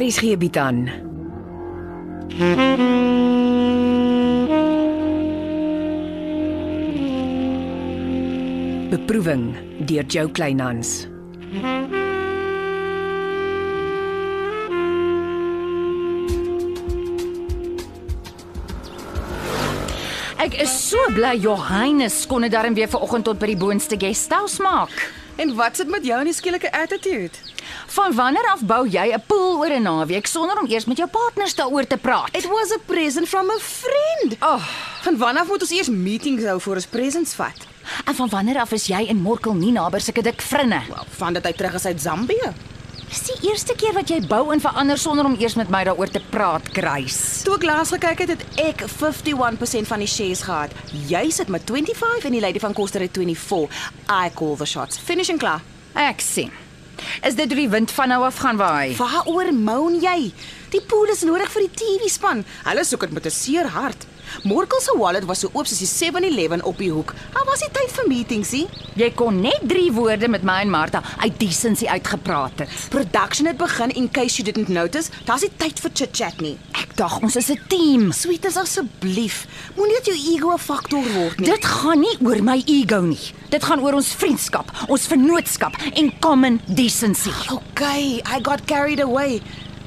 RSG bied aan. Beproeving deur Jo Kleinhans. Ek is so bly Johannes kon dit darm weer vanoggend tot by die boonste guesthouse maak. En wat sit met jou en die skielike attitude? Van wanneer af bou jy 'n pool oor 'n naweek sonder om eers met jou partners daaroor te praat? It was a present from a friend. Ag, oh, Van wanaf moet ons eers meetings hou voor ons presents vat? en van wanneer af is jy en Morkel nie naby sulke dik vrinne? Wel, van dat hy terug is uit Zambië. Dis die eerste keer wat jy bou en verander sonder om eers met my daaroor te praat, Grace. Toe ek laas gekyk het, het ek 51% van die shares gehad. Jy sit met 25 en die lady van Koster het 24. I call the shots. Finish en klaar. Ek sien. Is dit hoe die wind van nou af gaan waai? Waaroor moan jy? Die pool is nodig vir die TV-span. Hulle soek dit met 'n seer hart. Morkel se wallet was so oop soos die 7-Eleven op die hoek. Daar was nie tyd vir meetings nie. Jy kon net 3 woorde met my en Martha uit decency uitgepraat het. Production het begin in case you didn't notice. Daar's nie tyd vir chit-chat nie. Ek dink ons is 'n team. Sweeties asseblief, moenie dat jou ego 'n faktor word nie. Dit gaan nie oor my ego nie. Dit gaan oor ons vriendskap, ons vennootskap en common decency. okay, I got carried away.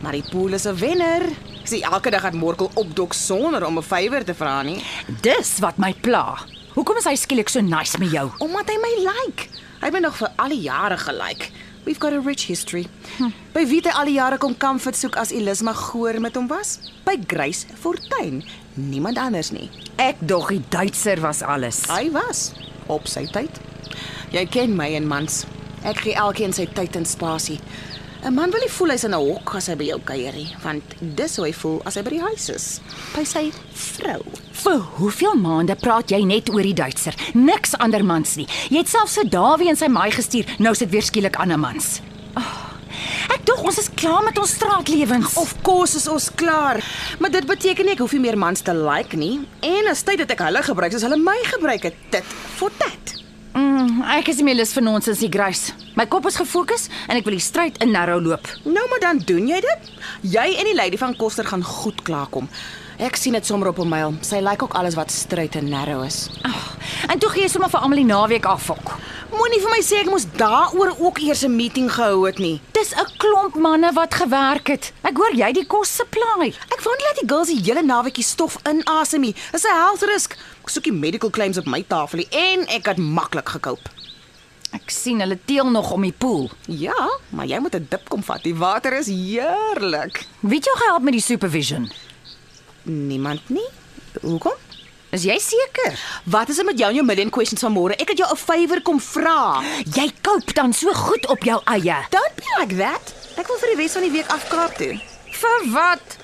Maar die pool is 'n wenner. Ek sien elke dag dat Morkel opdok sonder om 'n favour te vra nie, Dis wat my pla. Hoekom is hy skielik so nice met jou? omdat hy my like. Hy het my nog vir al die jare gelike. We've got a rich history. Hm. By wie het hy al die jare kom comfort soek as Elisma Goor met hom was? By Grace Fortuin, niemand anders nie. Ek dog die Duitser was alles. Hy was op sy tyd. Jy ken my en mans. Ek gee elkeen sy tyd en spasie. 'n Man wil nie voel hy's in 'n hok as hy by jou kuier nie, want dis hoe hy voel as hy by die huis is, by sy vrou. Vir hoeveel maande praat jy net oor die Duitser? Niks andermans nie. Jy het selfs vir Dawie en sy maai gestuur. Nou sit weer skielik andermans. Oh, ek dog ons is klaar met ons straatlewens. Of kos is ons klaar. Maar dit beteken nie ek hoef nie meer mans te like nie. En as tyd dat ek hulle gebruik soos hulle my gebruik het, dit for that. mm, ek is nie meer lus vir nonsens nie, Grace. My kop is gefokus en ek wil die stryd in narrow loop. Nou maar dan doen jy dit. Jy en die lady van Koster gaan goed klaarkom. Ek sien dit sommer op 'n mail. Sy like ook alles wat stryd en narrow is. Oh, en toe gee jy sommer vir almal die naweek afhok. Moenie vir my sê ek moes daaroor ook eers 'n meeting gehou het nie. Dis 'n klomp manne wat gewerk het. Ek hoor jy die kos supply. Ek wou nie laat die girls die hele naweekie stof inasem nie. Dis 'n health risk. Ek soek die medical claims op my tafelie en ek het maklik gekoop. Ek sien hulle teel nog om die poel. Ja, maar jy moet 'n dip kom vat. Die water is heerlik. Wie het jou gehelp met die supervision? Niemand nie. Hoekom? Is jy seker? Wat is dit met jou en jou million questions vanmôre? Ek het jou 'n favour kom vra. Jy koop dan so goed op jou eie. Don't be like that. Ek wil vir die res van die week af Kaap toe. Vir wat?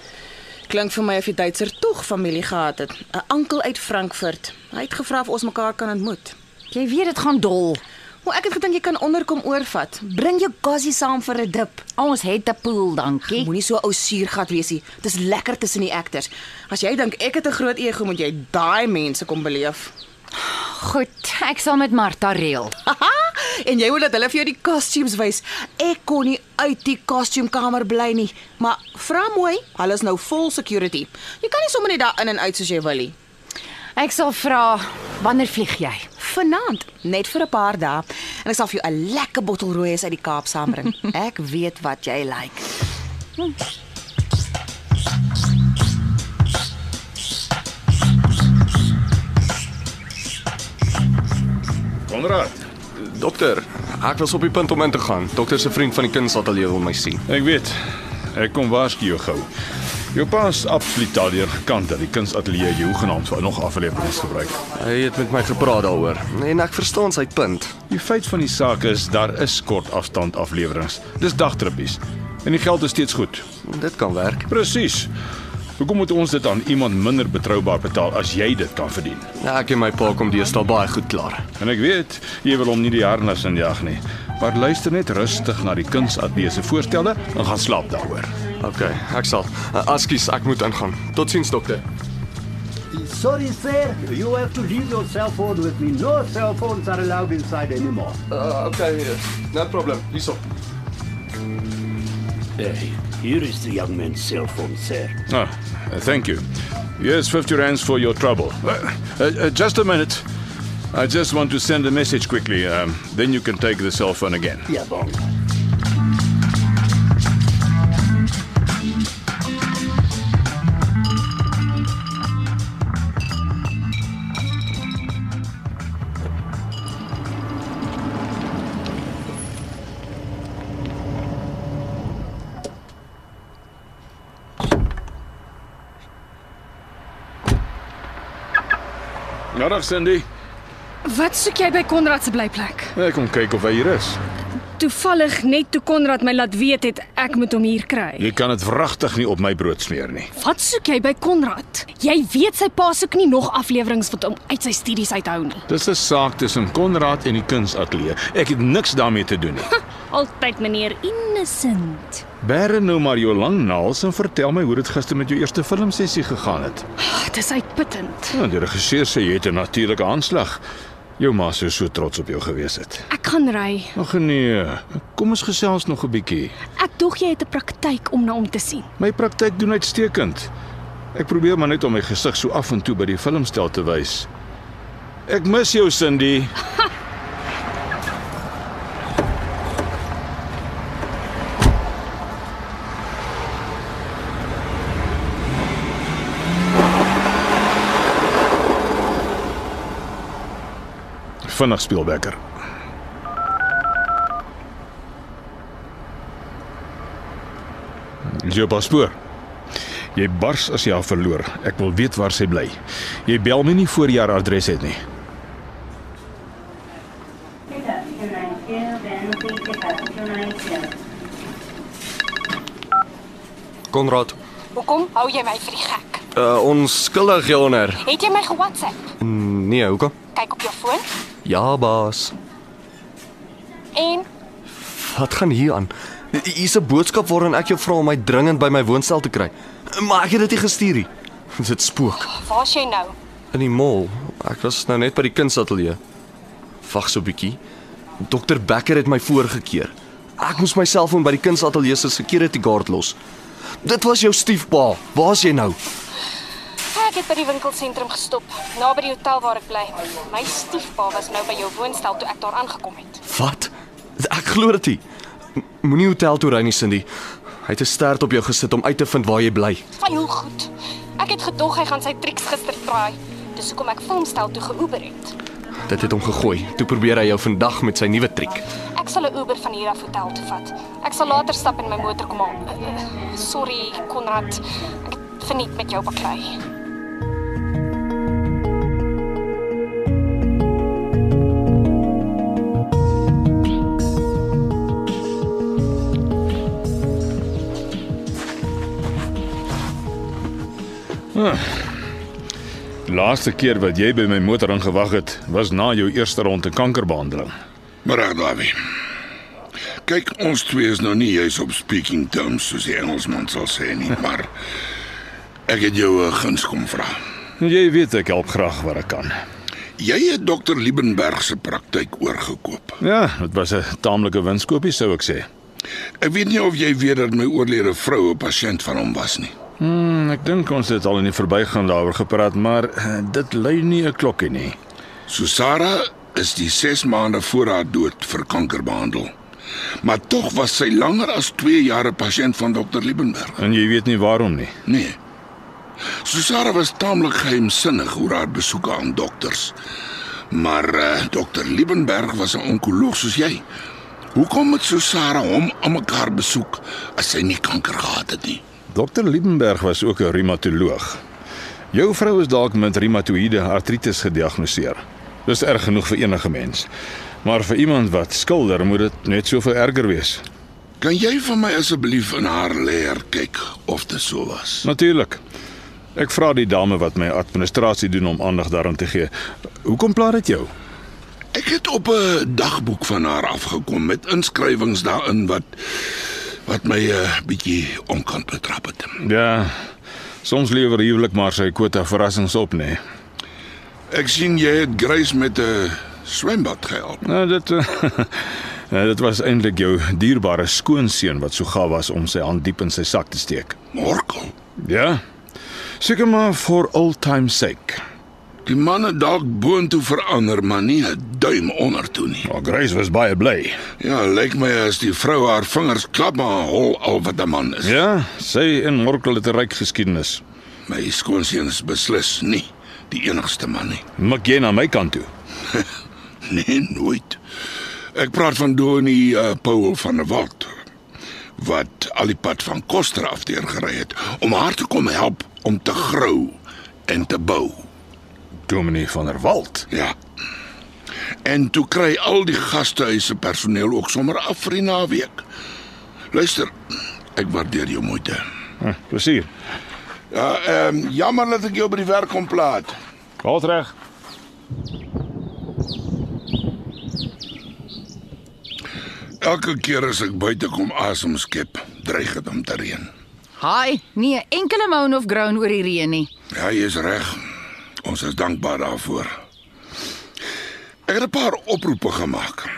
Klink vir my of die Duitser tog familie gehad het. 'n Oom uit Frankfurt. Hy het gevra of ons mekaar kan ontmoet. Jy weet dit gaan dol. Maar ek het gedink jy kan onderkom oorvat. Bring jou gassie saam vir 'n dip. Ons het 'n poel, dankie. Moenie so ou suurgat wees nie. Dis lekker tussen die actors. As jy dink ek het 'n groot ego, moet jy daai mense kom beleef. Goed, ek sal met Martha reël. Haha, en jy wil dat hulle vir jou die costumes wys. Ek kon nie uit die kostuumkamer bly nie, maar vra mooi, hulle is nou vol security. Jy kan nie sommer net daar in en uit soos jy wil nie. Ek sal vra, wanneer vlieg jy? Vanaand, net vir 'n paar dae, en ek sal vir jou 'n lekker bottel rooi uit die Kaap saambring. ek weet wat jy like. Konrad, Dokter, ek was op die punt om in te gaan. Dokter se vriend van die kunsateljee wil my sien. ek weet. Ek kom waarsku jou gou. Jou pa's absoluut daardeur gekant dat die kunsateljee jou genaamd vir nog afleweringe gebruik. Hy het met my gepraat daaroor en ek verstaan sy punt. Die feit van die saak is daar is kort afstand afleweringe. Dis dagtrippies. En die geld is steeds goed. Dit kan werk. Presies. Hoekom moet ons dit aan iemand minder betroubaar betaal as jy dit kan verdien? Ek en my pa kom deesdae baie goed klaar. En ek weet jy wil hom nie die harnas injaag nie. Maar luister net rustig na die kunsateljee se voorstelle en gaan slaap daaroor. OK, ek sal. Uh, Askies, ek moet ingaan. Totsiens dokter. Sorry, sir. You have to leave your cell phone with me. No cell phones are allowed inside anymore. Uh, OK, no problem. Hierso. Uh, here is the young man's cell phone, sir. Ah, uh, thank you. Here's 50 rands for your trouble. Uh, uh, uh, just a minute. I just want to send a message quickly. Um, then you can take the cell phone again. Yeah, bong. Middag Cindy. Wat soek jy by Konrad se blyplek? Ek kom kyk of hy hier is. Toevallig net toe Konrad my laat weet het ek moet hom hier kry. Ja. Jy kan dit wragtig nie op my brood smeer nie. Wat soek jy by Konrad? Jy weet sy pa soek nie nog afleweringe wat hom uit sy studies uithou nie. Dis 'n saak tussen Konrad en die kunsatelier. Ek het niks daarmee te doen nie. Altyd meneer Innocent. Bære nou maar jou lang naels en vertel my hoe dit gister met jou eerste filmsessie gegaan het. Ag, dis uitputtend. Nou, die regisseur sê jy het 'n natuurlike aanslag. Jou ma sou so trots op jou gewees het. Ek gaan ry. Ag nee, kom ons gesels nog 'n bietjie. Ek dog jy het 'n praktyk om na hom te sien. My praktyk doen uitstekend. Ek probeer maar net om my gesig so af en toe by die filmstel te wys. Ek mis jou Cindy. Vinnig speelbekker. Jy op haar spoor. Jy bars as jy haar verloor. Ek wil weet waar sy bly. Jy bel my nie voor jy haar adres het nie. Pickup 292, Van Cleef Pickup 292. Konrad, Hoekom hou jy my vir die gek? uh, ons skuldig jou onder. Het jy my ge-WhatsApp? Nee, hoekom? Kyk op jou foon Ja, baas. en Wat gaan hier aan? Hier's 'n boodskap waarin ek jou vra om my dringend by my woonstel te kry. Maar ek het dit nie gestuur nie. Dit spook. waar's jy nou? In die mall. Ek was nou net by die kunsateljee. Wag so 'n bietjie. Dr Becker het my voorgekeer. Ek moes my selfoon by die kunsateljee se security guard los. Dit was jou stiefpa. Waar's jy nou? Ek het by die winkelsentrum gestop, naby die hotel waar ek bly. My stiefpa was nou by jou woonstel toe ek daar aangekom het. Wat? Ek glo dit nie. M- Moenie hotel toe ry nie, Cindy. Hy het 'n stert op jou gesit om uit te vind waar jy bly. Van hoe goed. Ek het gedog hy gaan sy triks gister traai. Dis hoekom ek filmstel toe geoeber het. Dit het hom gegooi. Toe probeer hy jou vandag met sy nuwe triek. Ek sal 'n Uber van hier af hotel toe vat. Ek sal later stap en my motor kom haal. Eh, eh, Sorry, Konrad. Ek het verniet met jou baklei. Die laaste keer wat jy by my motor ingewag het, was na jou eerste ronde kankerbehandeling. Middag, Davie. Kyk, ons twee is nou nie juis op speaking terms soos die Engelsman sal sê nie, maar ek het jou 'n guns kom vra. Jy weet ek help graag waar ek kan. Jy het dokter Liebenberg se praktyk oorgekoop. Ja, dit was 'n taamlike winskoopie sou ek sê. Ek weet nie of jy weet dat my oorlede vrou 'n pasiënt van hom was nie. Hmm, ek dink ons het al in die verbygaan daaroor gepraat, maar eh, dit lui nie 'n klokkie nie. Susara is die 6 maande voor haar dood vir kanker behandel. Maar tog was sy langer as 2 jaar 'n pasiënt van dokter Liebenberg. En jy weet nie waarom nie. Nee. Susara was taamlik geheimsinnig oor haar besoeke aan dokters. Maar uh, dokter Liebenberg was 'n onkoloog soos jy. Hoekom het Susara hom aan mekaar besoek as sy nie kanker gehad het nie? Dr Liebenberg was ook 'n reumatoloog. Jou vrou is dalk met reumatoïede artritis gediagnoseer. Dis erg genoeg vir enige mens. Maar vir iemand wat skilder moet dit net soveel erger wees. Kan jy vir my asseblief in haar leer kyk of dit so was? Natuurlik. Ek vra die dame wat my administrasie doen om aandag daaraan te gee. Hoekom pla dit jou? Ek het op 'n dagboek van haar afgekom met inskrywings daarin wat wat my 'n uh, bietjie onkant betrap het. Ja. Soms lewer huwelik maar sy kwota verrassings op, nê. Nee. Ek sien jy het Grace met 'n swembad gehelp. Nou dit eh, Nou, dit was eintlik jou dierbare skoonseun wat so gaaf was om sy hand diep in sy sak te steek. Morkel. Ja. Seker maar for all time sake. Die man het dalk boontoe verander, maar nie 'n duim onder toe nie. Maar Oh, Grace was baie bly. Ja, lyk my as die vrou haar vingers klap maar hol al wat 'n man is. Ja, sy en Morkel het 'n ryk geskiedenis. My skoonseun is beslis nie die enigste man nie. Mik jy na my kant toe. nee, nooit. Ek praat van Donnie uh, Paul van der Walt wat al die pad van Koster af deurgery het om haar te kom help om te grou en te bou. Dominee van der Walt. Ja. En toe kry al die gastehuise personeel ook sommer af vir die naweek. Luister, ek waardeer jou moeite. Hm, Plesier. Ja, ehm um, jammer dat ek jou by die werk kom plaat. Goed reg. Elke keer as ek buite kom asem skep, dreig dit om te reën. Haai, nee, enkele moan of groan oor die reën nie. Ja, jy is reg. Ons is dankbaar daarvoor. Ek het 'n paar oproepe gemaak.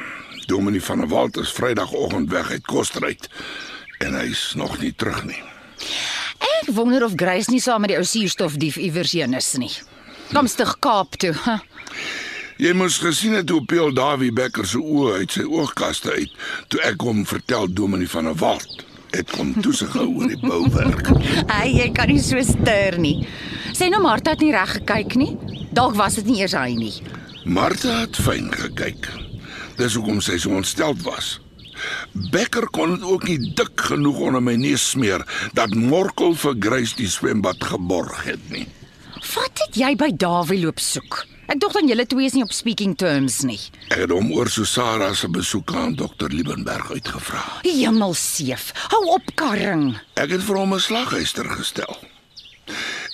Dominee van der Walt is Vrydagoggend weg uit Kostryd en hy's nog nie terug nie. Ek wonder of Grace nie saam met die ou suurstofdief iewers heen is nie. Komstig Kaap toe. Huh? Jy moes gesien het hoe Peel Dawie Becker se oë uit sy oogkaste uit toe ek hom vertel Dominee van der Walt het kom toesig hou oor die bouwerk. Ai, jy kan nie so steur nie. Sê nou Martha het nie reg gekyk nie. Dalk was dit nie eers hy nie. Martha het fyn gekyk. Dis hoekom sy so ontsteld was. Becker kon dit ook nie dik genoeg onder my neus smeer dat Morkel vir Grace die swembad geborg het nie. Wat het jy by Dawie loop soek? Ek dink dan julle twee is nie op speaking terms nie. Ek het hom oor Susara se besoek aan dokter Liebenberg uitgevra. Hemelseef, hou op karring. Ek het vir hom 'n slaghuister gestel.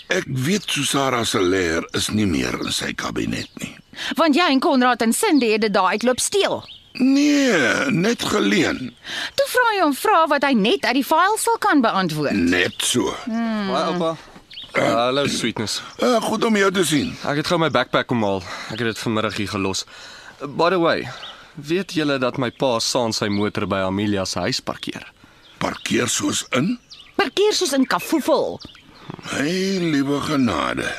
Ek weet Susara se leer is nie meer in sy kabinet nie. Want jy en Konrad en Cindy het dit daai uitloop steel. Nee, net geleen. Toe vra jy hom vrae wat hy net uit die file sal kan beantwoord. Net so. Haai oupa. Hallo sweetness. Uh, goed om jou te sien. Ek het gou my backpack kom haal. Ek het dit vanmiddag hier gelos. By the way, weet julle dat my pa saans sy motor by Amelia se huis parkeer? Parkeer soos in. Parkeer soos in kafoefel. Hey, liewe genade.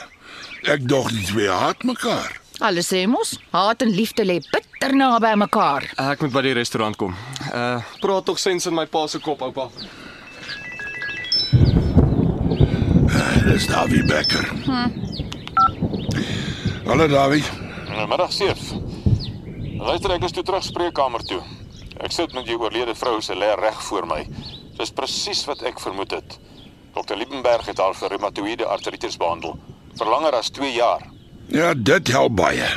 Ek dog die twee haat mekaar. Alles sê mos, haat en liefde lê bitter naby mekaar. Ek moet by die restaurant kom. Uh, praat tog sens in my pa se kop, oupa. Uh, dis Davie Becker. Hm. Hallo Davie. Middag seef. Luister ek is toe terug spreekkamer toe. Ek sit met jou oorlede vrou se lê reg voor my. Dis presies wat ek vermoed het. Dr. Liebenberg het haar vir reumatoïede artritis behandel vir langer as 2 jaar. Ja, dit help baie.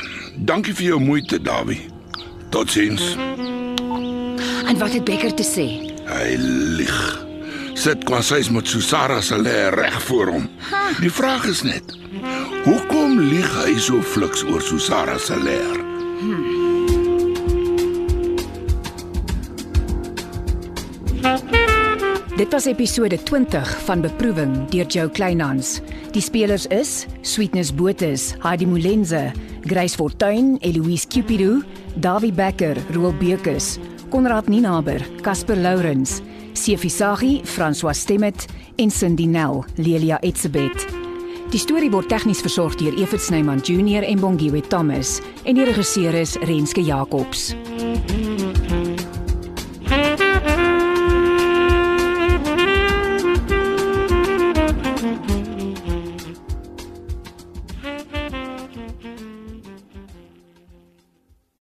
Dankie vir jou moeite, Davie. Totsiens. En wat het Becker te sê? Hy lieg. Sit kwansys met Susara se lê reg voor hom. Die vraag is net, hoekom lieg hy so fliks oor Susara se leer? Dit was episode 20 van Beproewing deur Jo Kleinhans. Die spelers is Sweetness Botha, Heidi Molenze, Grace Fortuin, Eloise Cupido, Davie Becker, Roel Bekus, Konrad Ninaber, Casper Lourens, Sefi Saghi, François Stemmet en Cindy Nel, Lelia Etsebet. Die storie word tegnies versorg deur Evert Snyman Junior en Bongwe Thomas en die regisseur is Renske Jacobs. Mm -hmm.